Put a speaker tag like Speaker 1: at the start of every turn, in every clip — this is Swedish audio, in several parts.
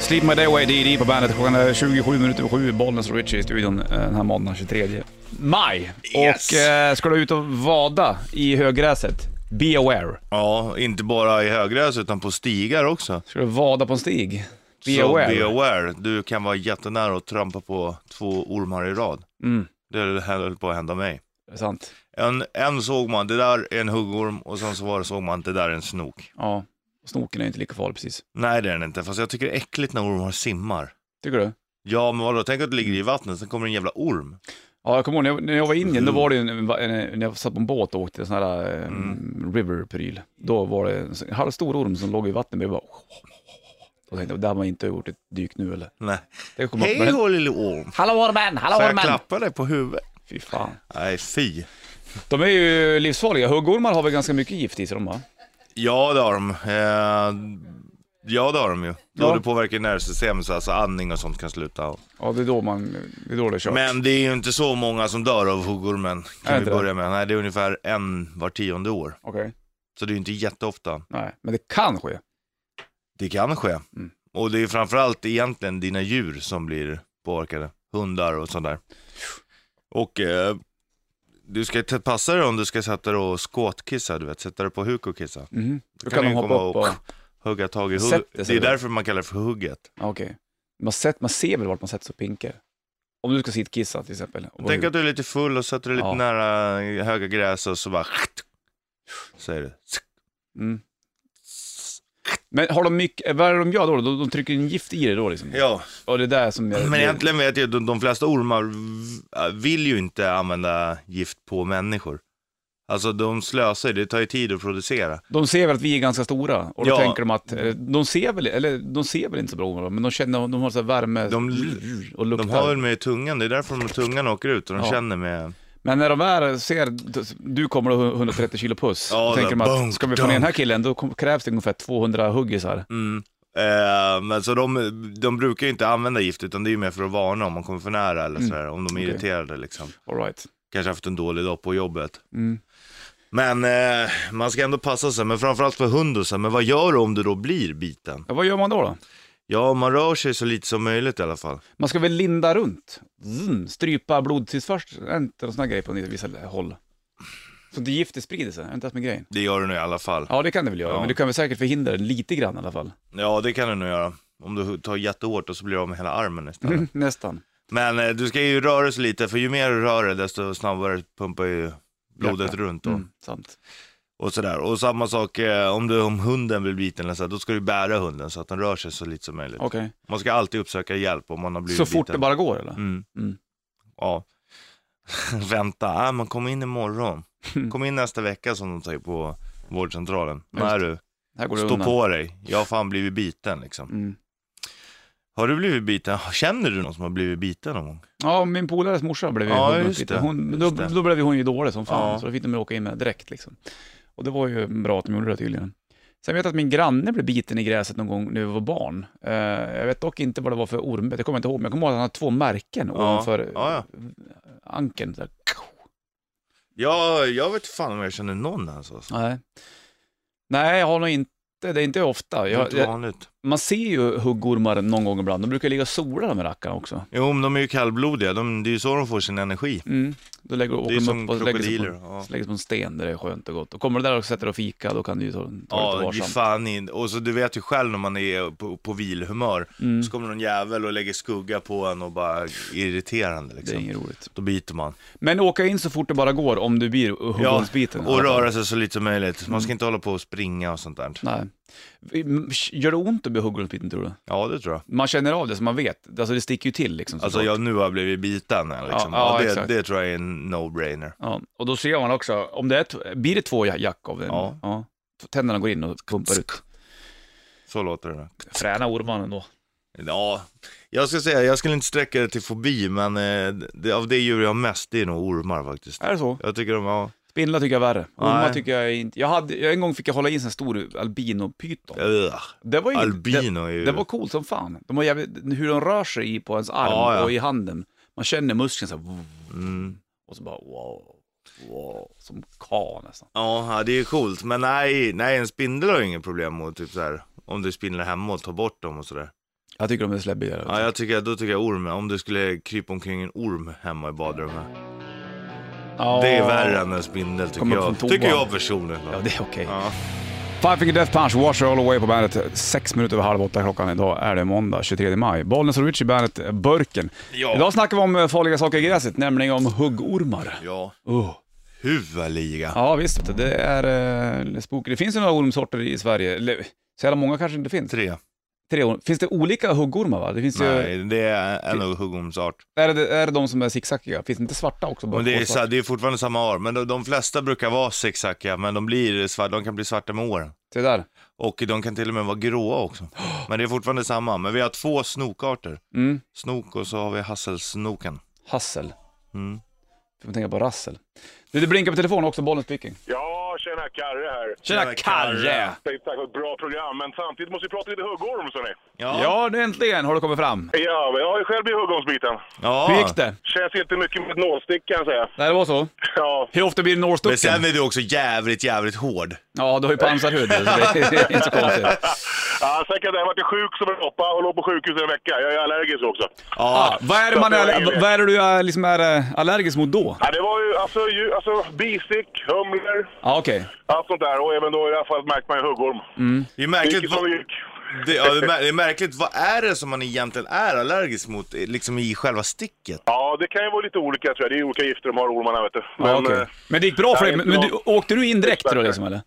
Speaker 1: Sleep My Day Away, D.D. på bandet. Klockan är 27 minuter över 7, Bollnäs och Richie i studion eh, den här måndagen 23 maj.
Speaker 2: Yes.
Speaker 1: Och eh, ska du ut och vada i högräset, be aware.
Speaker 2: Ja, inte bara i högräs utan på stigar också.
Speaker 1: Ska du vada på en stig, be
Speaker 2: Så
Speaker 1: aware.
Speaker 2: be aware. Du kan vara jättenära och trampa på två ormar i rad.
Speaker 1: Mm,
Speaker 2: Det höll på att hända mig.
Speaker 1: det är sant.
Speaker 2: En, en såg man, det där är en huggorm och sen så var det, såg man, det där är en snok.
Speaker 1: Ja, snoken är ju inte lika farlig precis.
Speaker 2: Nej det är den inte, fast jag tycker det är äckligt när ormar simmar.
Speaker 1: Tycker du?
Speaker 2: Ja men vadå, tänk att du ligger i vattnet, sen kommer en jävla orm.
Speaker 1: Ja, jag kommer ihåg när jag, när jag var i Indien, då
Speaker 2: Mm.
Speaker 1: var det ju, en, en, när jag satt på en båt och åkte en sån här eh,
Speaker 2: Mm.
Speaker 1: river-pryl. Då var det en sån- halvstor orm som låg i vattnet bredvid. och bara... Då tänkte jag, där har man inte gjort ett dyk nu eller?
Speaker 2: Nej.
Speaker 1: Det kom upp,
Speaker 2: Hej
Speaker 1: men-
Speaker 2: då lille orm.
Speaker 1: Hallå ormen, hallå
Speaker 2: Så jag
Speaker 1: ormen!
Speaker 2: klappar dig på huvudet.
Speaker 1: Fy fan.
Speaker 2: Nej fy.
Speaker 1: De är ju livsfarliga. Huggormar har väl ganska mycket gift i sig de va?
Speaker 2: Ja det har de. Eh, ja det har de ju. Då
Speaker 1: Ja.
Speaker 2: det påverkar nervsystemet, så alltså andning och sånt kan sluta.
Speaker 1: Ja, det är då man, det är då det är kört.
Speaker 2: Men det är ju inte så många som dör av huggormen, kan
Speaker 1: Nej,
Speaker 2: vi
Speaker 1: inte
Speaker 2: börja med. Nej, det är ungefär en var tionde år.
Speaker 1: Okej.
Speaker 2: Så det är ju inte jätteofta.
Speaker 1: Nej, men det kan ske.
Speaker 2: Det kan ske.
Speaker 1: Mm.
Speaker 2: Och det är framförallt egentligen dina djur som blir påverkade. Hundar och sånt där. Och eh, du ska t- passa dig om du ska sätta dig och skåtkissa, du vet. Sätta dig på huk och kissa.
Speaker 1: Mhm. Då
Speaker 2: kan
Speaker 1: kan
Speaker 2: du
Speaker 1: de hoppa
Speaker 2: komma
Speaker 1: upp och...
Speaker 2: och- Hugga tag i hugg.
Speaker 1: Sätter
Speaker 2: Det
Speaker 1: sig
Speaker 2: är
Speaker 1: då.
Speaker 2: därför man kallar det för hugget.
Speaker 1: Ja, Okej. Man, sett, man ser väl vart man sätter sig och pinkar? Om du ska sittkissa till exempel. Och
Speaker 2: Tänk att du är lite full och sätter dig lite
Speaker 1: Ja.
Speaker 2: nära höga gräs och så bara... Säger du.
Speaker 1: Mm. Men har de mycket, vad är det de gör då? De, de trycker in gift i det då liksom?
Speaker 2: Ja,
Speaker 1: Och det är där som... Jag,
Speaker 2: men egentligen vet jag att de, de flesta ormar v- vill ju inte använda gift på människor. Alltså de slösar ju, det tar ju tid att producera.
Speaker 1: De ser väl att vi är ganska stora och då
Speaker 2: Ja.
Speaker 1: tänker de att, eh, de ser väl, eller de ser väl inte så bra ormar, men de känner, de har så här värme
Speaker 2: De-
Speaker 1: och luktar.
Speaker 2: De har väl med tungan, det är därför de tungan åker ut och de
Speaker 1: Ja.
Speaker 2: känner med...
Speaker 1: Men när de är, ser, du kommer och 130 kilo puss,
Speaker 2: Ja,
Speaker 1: då tänker de
Speaker 2: det-
Speaker 1: att
Speaker 2: bunk,
Speaker 1: ska vi få ner den här
Speaker 2: dunk.
Speaker 1: killen, då kom- krävs det ungefär 200 huggisar.
Speaker 2: Mm. Eh, men så de, de brukar ju inte använda gift utan det är ju mer för att varna om man kommer för nära eller sådär, om de
Speaker 1: Mm.
Speaker 2: är
Speaker 1: Okej.
Speaker 2: irriterade liksom.
Speaker 1: All right.
Speaker 2: Kanske haft en dålig dag på jobbet.
Speaker 1: Mm.
Speaker 2: Men eh, man ska ändå passa sig, men framförallt för hund och så. här, Men vad gör du om du då blir biten?
Speaker 1: Ja, vad gör man då? då?
Speaker 2: Ja, man rör sig så lite som möjligt i alla fall.
Speaker 1: Man ska väl linda runt, Zzz, strypa blodtillförseln, Är inte någon sån här grej på vissa håll. Så inte giftet sprider sig, är inte det som är grejen?
Speaker 2: Det gör du nog i alla fall.
Speaker 1: Ja, det kan det väl göra,
Speaker 2: Ja.
Speaker 1: men du kan väl säkert förhindra det lite grann i alla fall.
Speaker 2: Ja, det kan du nog göra. Om du tar jättehårt och så blir du av med hela armen istället.
Speaker 1: Nästan.
Speaker 2: Men eh, du ska ju röra sig lite, för ju mer du rör dig desto snabbare pumpar ju blodet
Speaker 1: Hjärta.
Speaker 2: runt. Och,
Speaker 1: Mm, sant.
Speaker 2: och sådär. Och samma sak eh, om, du, om hunden blir biten, eller så här, då ska du bära hunden så att den rör sig så lite som möjligt.
Speaker 1: Okej.
Speaker 2: Man ska alltid uppsöka hjälp om man har blivit
Speaker 1: Så
Speaker 2: biten.
Speaker 1: fort det bara går eller?
Speaker 2: Mm.
Speaker 1: Mm.
Speaker 2: Ja. Vänta, äh, men kom in imorgon.
Speaker 1: Mm.
Speaker 2: Kom in nästa vecka som de säger på vårdcentralen.
Speaker 1: Just
Speaker 2: Nej du,
Speaker 1: Här går det
Speaker 2: stå
Speaker 1: undan.
Speaker 2: på dig. Jag har fan blivit biten liksom.
Speaker 1: Mm.
Speaker 2: Har du blivit biten? Känner du någon som har blivit biten någon gång?
Speaker 1: Ja, min polares morsa blev ju
Speaker 2: Ja,
Speaker 1: huggen
Speaker 2: just
Speaker 1: lite.
Speaker 2: det,
Speaker 1: Hon,
Speaker 2: just
Speaker 1: då,
Speaker 2: det.
Speaker 1: då blev ju hon ju dålig som fan,
Speaker 2: Ja.
Speaker 1: så då fick de åka in med direkt liksom. Och det var ju bra att de gjorde det tydligen. Sen vet jag att min granne blev biten i gräset någon gång när vi var barn. Eh, jag vet dock inte vad det var för ormbett, det kommer jag inte ihåg, men jag kommer ihåg att han hade två märken
Speaker 2: Ja,
Speaker 1: ovanför
Speaker 2: ja, ja.
Speaker 1: ankeln. Så här.
Speaker 2: Ja, jag vet fan om jag känner någon alltså.
Speaker 1: Nej. Nej, jag har nog inte, det är inte ofta.
Speaker 2: Det är
Speaker 1: Jag,
Speaker 2: inte
Speaker 1: jag,
Speaker 2: vanligt.
Speaker 1: man ser ju huggormar någon gång ibland, de brukar ligga och sola de här rackarna också.
Speaker 2: Jo, men de är ju kallblodiga. De, det är ju så de får sin energi.
Speaker 1: Mm. Då lägger, åker
Speaker 2: Det är
Speaker 1: de
Speaker 2: som
Speaker 1: upp och lägger sig på
Speaker 2: krokodiler. Ja.
Speaker 1: Så lägger på en sten där det är skönt och gott. Och kommer du där och sätter dig och fika, då kan du ju ta, ta det lite
Speaker 2: Ja, ge
Speaker 1: varsamt.
Speaker 2: fan in. Och så du vet ju själv när man är på, på vilhumör,
Speaker 1: Mm.
Speaker 2: så kommer någon jävel och lägger skugga på en och bara irriterande
Speaker 1: Det är
Speaker 2: liksom.
Speaker 1: inget roligt.
Speaker 2: Då biter man.
Speaker 1: Men åka in så fort det bara går om du blir huggormsbiten.
Speaker 2: och röra sig så lite som möjligt. Man ska inte hålla på och springa och sånt där.
Speaker 1: Nej. Gör det ont att bli huggormsbiten tror du?
Speaker 2: Ja, det tror jag.
Speaker 1: Man känner av det så man vet. Alltså det sticker ju till liksom.
Speaker 2: Alltså
Speaker 1: såklart.
Speaker 2: jag, nu har jag blivit biten här, liksom.
Speaker 1: Ja, ja,
Speaker 2: ja, det,
Speaker 1: exakt.
Speaker 2: det tror jag är en no-brainer.
Speaker 1: ja. Och då ser man också, om det är t- blir det två ja- jack av den?
Speaker 2: Ja.
Speaker 1: Tänderna går in och pumpar ut.
Speaker 2: Så låter det.
Speaker 1: Fräna ormar ändå.
Speaker 2: Ja, jag ska säga, jag skulle inte sträcka det till fobi, men eh, det, av det djur jag har mest, det är nog ormar faktiskt.
Speaker 1: Är det så?
Speaker 2: Jag tycker de, ja,
Speaker 1: Spindlar tycker jag är värre. Ormar
Speaker 2: Nej.
Speaker 1: tycker jag inte. Jag hade, jag- en gång fick jag hålla i en sån här stor albinopyton.
Speaker 2: ugh,
Speaker 1: Det var ju det-
Speaker 2: albino är ju...
Speaker 1: Det var coolt som fan. De har jävligt, hur de rör sig i på ens arm
Speaker 2: Ja, ja.
Speaker 1: och i handen. Man känner muskeln så här,
Speaker 2: Mm.
Speaker 1: och så bara wow, wow, som ka nästan.
Speaker 2: Ja, ja, det är ju coolt, men nej, nej, en spindel har jag inget problem med, typ så här, om du spindlar hemma och tar bort dem och sådär.
Speaker 1: Jag tycker de är släbbigare.
Speaker 2: Ja, jag tycker, då tycker jag orm. Om du skulle krypa omkring en orm hemma i badrummet.
Speaker 1: Ja.
Speaker 2: Det är värre än en spindel tycker
Speaker 1: Kommer från
Speaker 2: jag.
Speaker 1: toan.
Speaker 2: Tycker jag personligen.
Speaker 1: Ja, det är okej.
Speaker 2: Ja.
Speaker 1: Five Finger Death Punch, Washer All Away på bandet. Sex minuter över halv åtta klockan idag är det måndag 23 maj. Bollnäs och Richie bandet eh, Burken.
Speaker 2: Ja.
Speaker 1: Idag snackar vi om eh, farliga saker i gräset, nämligen om huggormar.
Speaker 2: ja.
Speaker 1: Oh.
Speaker 2: Huvaliga.
Speaker 1: Ja visst, vet du. det är eh, spooky. Det finns ju några ormsorter i Sverige. Eller, Så jävla många kanske inte finns.
Speaker 2: Tre.
Speaker 1: Tre orm. Finns det olika huggormar? Va? Det finns ju,
Speaker 2: Nej, det är en huggormsart.
Speaker 1: är, det, är det de som är zigzackiga? Finns det inte svarta också?
Speaker 2: Men det är,
Speaker 1: Svarta.
Speaker 2: så, det är fortfarande samma arm. Men de, de flesta brukar vara zigzackiga, men de, blir, svart- de kan bli svarta med åren.
Speaker 1: Se där.
Speaker 2: Och de kan till och med vara gråa också. Men det är fortfarande samma. Men vi har två snokarter.
Speaker 1: Mm.
Speaker 2: Snok och så har vi hasselsnoken.
Speaker 1: Hassel.
Speaker 2: Mm.
Speaker 1: Får man tänka på rassel. Du, det blinkar på telefonen också, bollen speaking.
Speaker 3: Ja, tjena Karre här.
Speaker 2: Tjena, Karre.
Speaker 3: Tack för ett bra program, men samtidigt måste vi prata lite huggorm, så ni.
Speaker 2: Ja.
Speaker 1: Ja, nu äntligen har du kommit fram.
Speaker 3: Ja, men jag har ju själv blivit huggormsbiten.
Speaker 2: ja.
Speaker 1: Hur gick det?
Speaker 3: Känns inte mycket med ett nålstick kan jag säga.
Speaker 1: Nej, det var så.
Speaker 3: Ja,
Speaker 1: Hur ofta blir det nålstucken?
Speaker 2: Men sen är du också jävligt, jävligt hård.
Speaker 1: Ja, du har ju pansarhud, så det är inte så konstigt.
Speaker 3: ja säkert. Jag varit sjuk som en råtta och låg på sjukhus en vecka. Jag är allergisk också.
Speaker 1: Ja, vad, är det man är, vad är det du är, liksom är eh, allergisk mot då?
Speaker 3: Ja, det var ju alltså, ju, alltså bistick, humlor,
Speaker 1: Ja, okej.
Speaker 3: allt sånt där. Och även då i det här fallet märkte man ju huggorm.
Speaker 2: Det är
Speaker 3: Det
Speaker 2: märkligt,
Speaker 3: gick som
Speaker 2: vad,
Speaker 3: det gick.
Speaker 2: det, ja, det är mär- det är märkligt, vad är det som man egentligen är allergisk mot eh, liksom i själva sticket?
Speaker 3: Ja, det kan ju vara lite olika tror jag. Det är olika gifter de har ormarna vet du.
Speaker 1: Men,
Speaker 3: eh,
Speaker 1: men det gick bra för
Speaker 3: nej,
Speaker 1: dig. Men, men du, åkte du in direkt då liksom eller?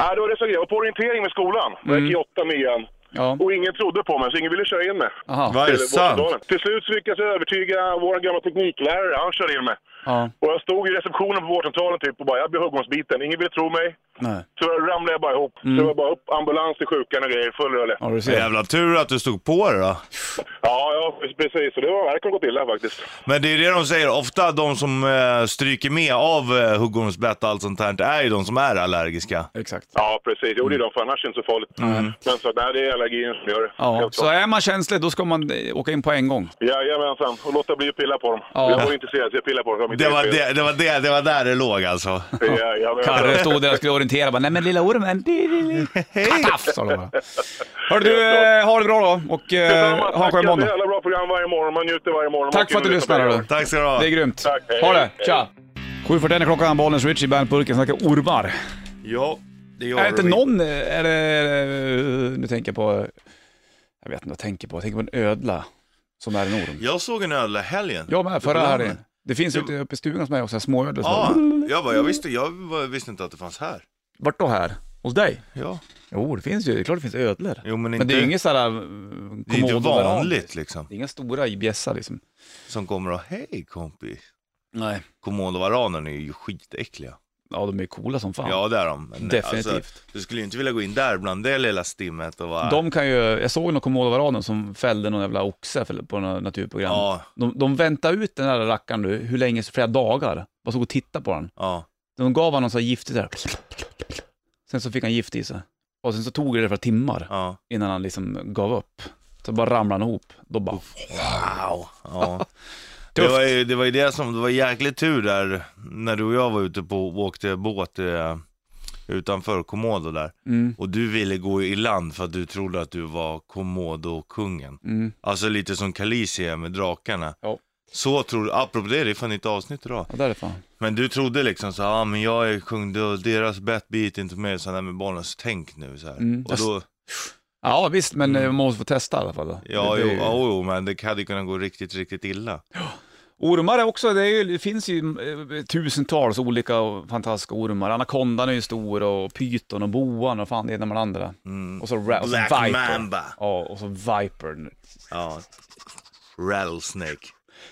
Speaker 3: Ja, det var det som jag var på orientering med skolan. Jag gick i åtta, nian.
Speaker 1: Ja.
Speaker 3: Och ingen trodde på mig, så ingen ville köra in mig.
Speaker 1: Aha.
Speaker 2: Vad är det
Speaker 3: Eller
Speaker 2: sant?
Speaker 3: Vårdalen. Till slut så lyckades jag övertyga vår gamla tekniklärare, han körde in mig.
Speaker 1: Ja.
Speaker 3: Och jag stod i receptionen på vårdcentralen typ och bara, jag blir huggormsbiten. Ingen ville tro mig.
Speaker 1: Nej.
Speaker 3: Så ramlade jag bara ihop. Så det var bara upp ambulans till sjukan och grejer, full rulle.
Speaker 1: Mm. Ja, du ser.
Speaker 2: Jävla tur att du stod på det då.
Speaker 3: Ja, ja, precis. Så det var verkligen gått illa faktiskt.
Speaker 2: Men det är det de säger, ofta de som eh, stryker med av eh, huggormsbett och allt sånt här är ju de som är allergiska.
Speaker 1: Exakt.
Speaker 3: Ja, precis. Jo, det
Speaker 1: Mm.
Speaker 3: är de, för annars är det inte så farligt. Men så, nej, det är allergin som gör det.
Speaker 1: Ja.
Speaker 3: Helt
Speaker 1: Så
Speaker 3: klart.
Speaker 1: är man känslig då ska man eh, åka in på en gång.
Speaker 3: Jajamensan, och låta bli att pilla på dem.
Speaker 1: Ja.
Speaker 3: Jag var intresserad, så jag pillade på dem.
Speaker 2: Det var, det, det, var det, det var där det låg alltså.
Speaker 3: Jajamensan.
Speaker 1: Karre stod där och skulle orientera bara, nej men lilla ormen, kataff sa de bara. Hörru du, eh, ha det bra då och eh,
Speaker 3: Detsamma,
Speaker 1: ha en skön
Speaker 3: Tack, det är ett
Speaker 1: måndag.
Speaker 3: jävla bra program varje morgon. Man njuter varje morgon.
Speaker 1: Tack för att du lyssnade. hörru.
Speaker 2: Tack ska du ha.
Speaker 1: Det är grymt.
Speaker 3: Tack, hej,
Speaker 1: Ha det,
Speaker 3: hej.
Speaker 1: tja. 7.41 är klockan, Bollnäs Richie, Bandburken snackar ormar.
Speaker 2: Ja, det gör
Speaker 1: Är det inte
Speaker 2: vi.
Speaker 1: någon, eh, är det, är det- nu tänker jag på, jag vet inte vad jag tänker på, jag tänker på en ödla som är en orm.
Speaker 2: Jag såg en ödla helgen.
Speaker 1: Jag med, förra
Speaker 2: Ibland.
Speaker 1: helgen. Det finns ju ute uppe i stugan hos mig också, småödlor.
Speaker 2: Ja,
Speaker 1: som-
Speaker 2: jag, bara, jag, visste, jag var- visste inte att det fanns här.
Speaker 1: Vart då här? Hos dig?
Speaker 2: Ja.
Speaker 1: Jo, det finns ju, det är klart det finns ödlor.
Speaker 2: Jo, men
Speaker 1: men,
Speaker 2: inte-
Speaker 1: det är ju inget sådär
Speaker 2: Det är inte vanligt liksom.
Speaker 1: Det är inga stora bjässar liksom.
Speaker 2: Som kommer och hej kompis.
Speaker 1: Nej.
Speaker 2: Komodovaranen är ju skitäckliga.
Speaker 1: Ja, de är coola som fan.
Speaker 2: Ja, det är de. Men, alltså,
Speaker 1: Definitivt.
Speaker 2: du skulle ju inte vilja gå in där bland det lilla stimmet och vara...
Speaker 1: De kan ju, jag såg någon komodovaranen som fällde någon jävla oxe för- på något naturprogram.
Speaker 2: Ja,
Speaker 1: De, de väntade ut den där rackaren nu, hur länge, flera dagar. Bara stod och tittade på den.
Speaker 2: ja.
Speaker 1: De gav honom så här giftigt där. Sen så fick han gift i sig. Och sen så tog det flera timmar
Speaker 2: ja.
Speaker 1: innan han liksom gav upp. Så bara ramlade han ihop. Då bara...
Speaker 2: Wow. Ja. Det
Speaker 1: Tufft.
Speaker 2: var, ju, det var ju det som, det var jäkligt tur där när du och jag var ute på, åkte båt eh, utanför Komodo där.
Speaker 1: Mm,
Speaker 2: Och du ville gå i land för att du trodde att du var Komodo-kungen.
Speaker 1: mm.
Speaker 2: Alltså lite som Khaleesi är med drakarna.
Speaker 1: Ja.
Speaker 2: Så trodde, apropå det, det är fan inte avsnitt idag.
Speaker 1: Ja, där är fan.
Speaker 2: Men du trodde liksom så, ja ah, men jag är kung, då- deras bett biter inte mig, så där med barnen, så tänk nu så här.
Speaker 1: Mm.
Speaker 2: Och då,
Speaker 1: Ja, visst, men eh, man måste få testa i alla fall. då.
Speaker 2: Mm. ja
Speaker 1: Det-
Speaker 2: jo,
Speaker 1: det är ju-
Speaker 2: jo, jo, men det hade kunnat gå riktigt, riktigt illa.
Speaker 1: Ormar är också, det, är ju, det finns ju eh, tusentals olika och fantastiska ormar. Anakondan är ju stor och pyton och boan och fan det ena med det andra.
Speaker 2: Mm.
Speaker 1: Och så, ra- och så
Speaker 2: Black
Speaker 1: viper.
Speaker 2: Mamba.
Speaker 1: Ja, och så viper.
Speaker 2: Ja. Rattlesnake.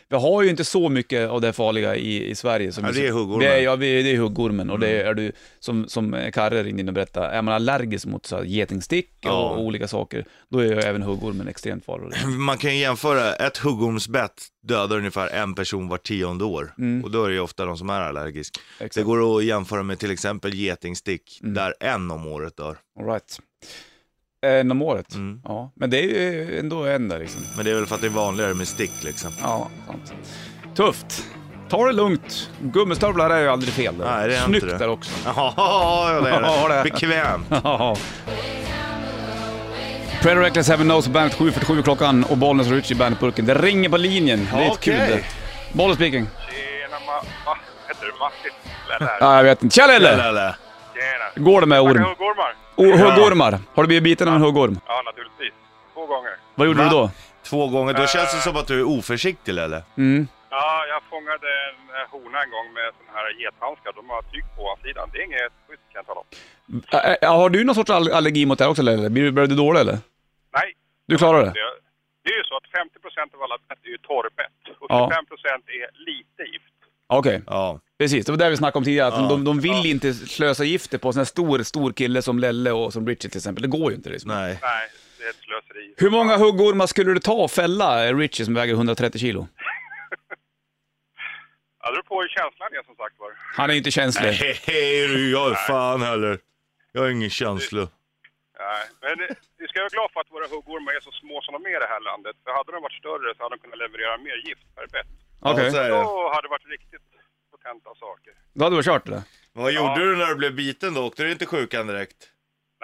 Speaker 1: Vi har ju inte så mycket av det farliga i, i Sverige. Som
Speaker 2: Ja, det är huggormen. Mm.
Speaker 1: Det är, ja, vi- det är huggormen. Och det är du, som, som Karre ringde in och berättade, är man allergisk mot så här, getingstick
Speaker 2: Ja.
Speaker 1: och olika saker, då är ju även huggormen extremt farlig.
Speaker 2: Man kan ju jämföra, ett huggormsbett dödar ungefär en person var tionde år. Och då är det ju ofta de som är allergisk.
Speaker 1: Mm. Exakt. Mm.
Speaker 2: Det går att jämföra med till exempel getingstick, där en om året dör.
Speaker 1: All right. En om året.
Speaker 2: Mm.
Speaker 1: Ja, men det är ju ändå en där liksom.
Speaker 2: Men det är väl för att det är vanligare med stick liksom.
Speaker 1: Ja, sant. Tufft. Ta det lugnt. Gummistövlar är ju aldrig fel. Där.
Speaker 2: Nej, det är
Speaker 1: Snyggt
Speaker 2: inte det.
Speaker 1: där också.
Speaker 2: Ja, det är
Speaker 1: Ja, det är
Speaker 2: det.
Speaker 1: det.
Speaker 2: Bekvämt.
Speaker 1: Ja. Shredder Reckless Heaven Knows på Bandet 7.47 klockan och Bollnäs och Ritchie i Bandetburken. Det ringer på linjen. Det är
Speaker 2: Okej.
Speaker 1: okay. kul det. Bollnäs speaking.
Speaker 3: Tjena, ma- va? Heter du Martin? Eller där?
Speaker 1: Ja, jag vet inte. Tja Lelle!
Speaker 2: Eller?
Speaker 3: Tjena.
Speaker 1: Går det med orm?
Speaker 3: Tackar, Gormar.
Speaker 1: O- Huggormar. Har du blivit biten av en huggorm?
Speaker 3: Ja, naturligtvis. Två gånger.
Speaker 1: Vad gjorde
Speaker 2: Va?
Speaker 1: du då?
Speaker 2: Två gånger, då känns det som att du är oförsiktig eller?
Speaker 1: Mm.
Speaker 3: Ja, jag fångade en eh, hona en gång med sån här gethandskar. De har tyg på ovansidan. Det är inget schysst kan jag tala om.
Speaker 1: Ä- ä- Har du någon sorts all- allergi mot det här också Lelle? Blir du- Blev du dålig eller?
Speaker 3: Nej,
Speaker 1: Du klarar det?
Speaker 3: det, det är ju så att 50 procent av alla bett är ju torrbett. Och
Speaker 1: Ja.
Speaker 3: 25 procent är lite gift.
Speaker 1: Okej,
Speaker 2: Ja.
Speaker 1: precis. Det var det vi snackade om tidigare. Att de, de vill inte slösa gifter på en sån här stor, stor kille som Lelle och som Richie till exempel. Det går ju inte liksom.
Speaker 2: Nej.
Speaker 3: Nej, det är ett slöseri.
Speaker 1: Hur många huggormar skulle du ta och fälla eh, Richie som väger 130 kilo?
Speaker 3: Ja, det beror på hur känslan är som sagt var.
Speaker 1: Han är inte känslig.
Speaker 2: Hej, hej, du, jag är fan heller. Jag har ingen känsla.
Speaker 3: Nej, men eh, vi ska vara glada för att våra huggormar är så små som de är i det här landet. För hade de varit större så hade de kunnat leverera mer gift per bett.
Speaker 1: Okej,
Speaker 2: Ja, så är det.
Speaker 3: Då hade det varit riktigt potenta saker.
Speaker 1: då hade du kört det.
Speaker 2: Vad gjorde du när du blev biten då? Åkte du inte sjukan direkt?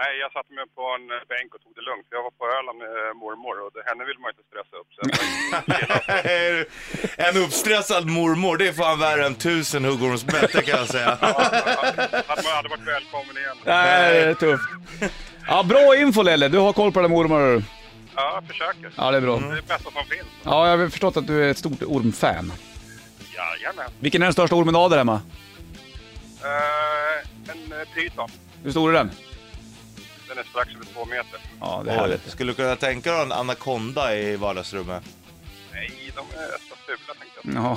Speaker 3: Nej, jag satte mig på en eh, bänk och tog det lugnt. Jag var på Öland med eh, mormor och det- henne vill man ju inte stressa upp. Så jag
Speaker 2: en uppstressad mormor, det är fan värre än tusen huggormsbälten kan jag säga.
Speaker 3: hade man hade varit välkommen igen.
Speaker 1: Nej, det är tufft. Ja, bra info Lelle, du har koll på det där med ormar. du.
Speaker 3: Ja, jag försöker.
Speaker 1: Ja, det är bra.
Speaker 3: Det är det bästa som finns.
Speaker 1: Ja, jag har förstått att du är ett stort ormfan.
Speaker 3: Jajamän.
Speaker 1: Vilken är den största ormen du har där hemma?
Speaker 3: Uh, en eh, pyton.
Speaker 1: Hur stor är den?
Speaker 3: Den är strax över två meter.
Speaker 1: Ja, det är
Speaker 2: Oj,
Speaker 1: härligt.
Speaker 2: skulle du kunna tänka dig en anakonda i vardagsrummet?
Speaker 3: Nej, de är så fula tänkte jag.
Speaker 1: Ja,
Speaker 3: Nej,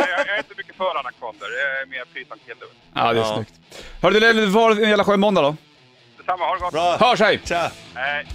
Speaker 3: eh, jag jag är inte mycket för anakonder. Jag är mer pytonkille.
Speaker 1: ja det är
Speaker 2: Ja.
Speaker 1: snyggt. Hörru du Lelle, du får ha en jävla skön måndag då.
Speaker 3: Detsamma, ha det gott. Eh,
Speaker 2: Bra!
Speaker 1: Hörs, hej!
Speaker 2: Tja!
Speaker 3: Hej.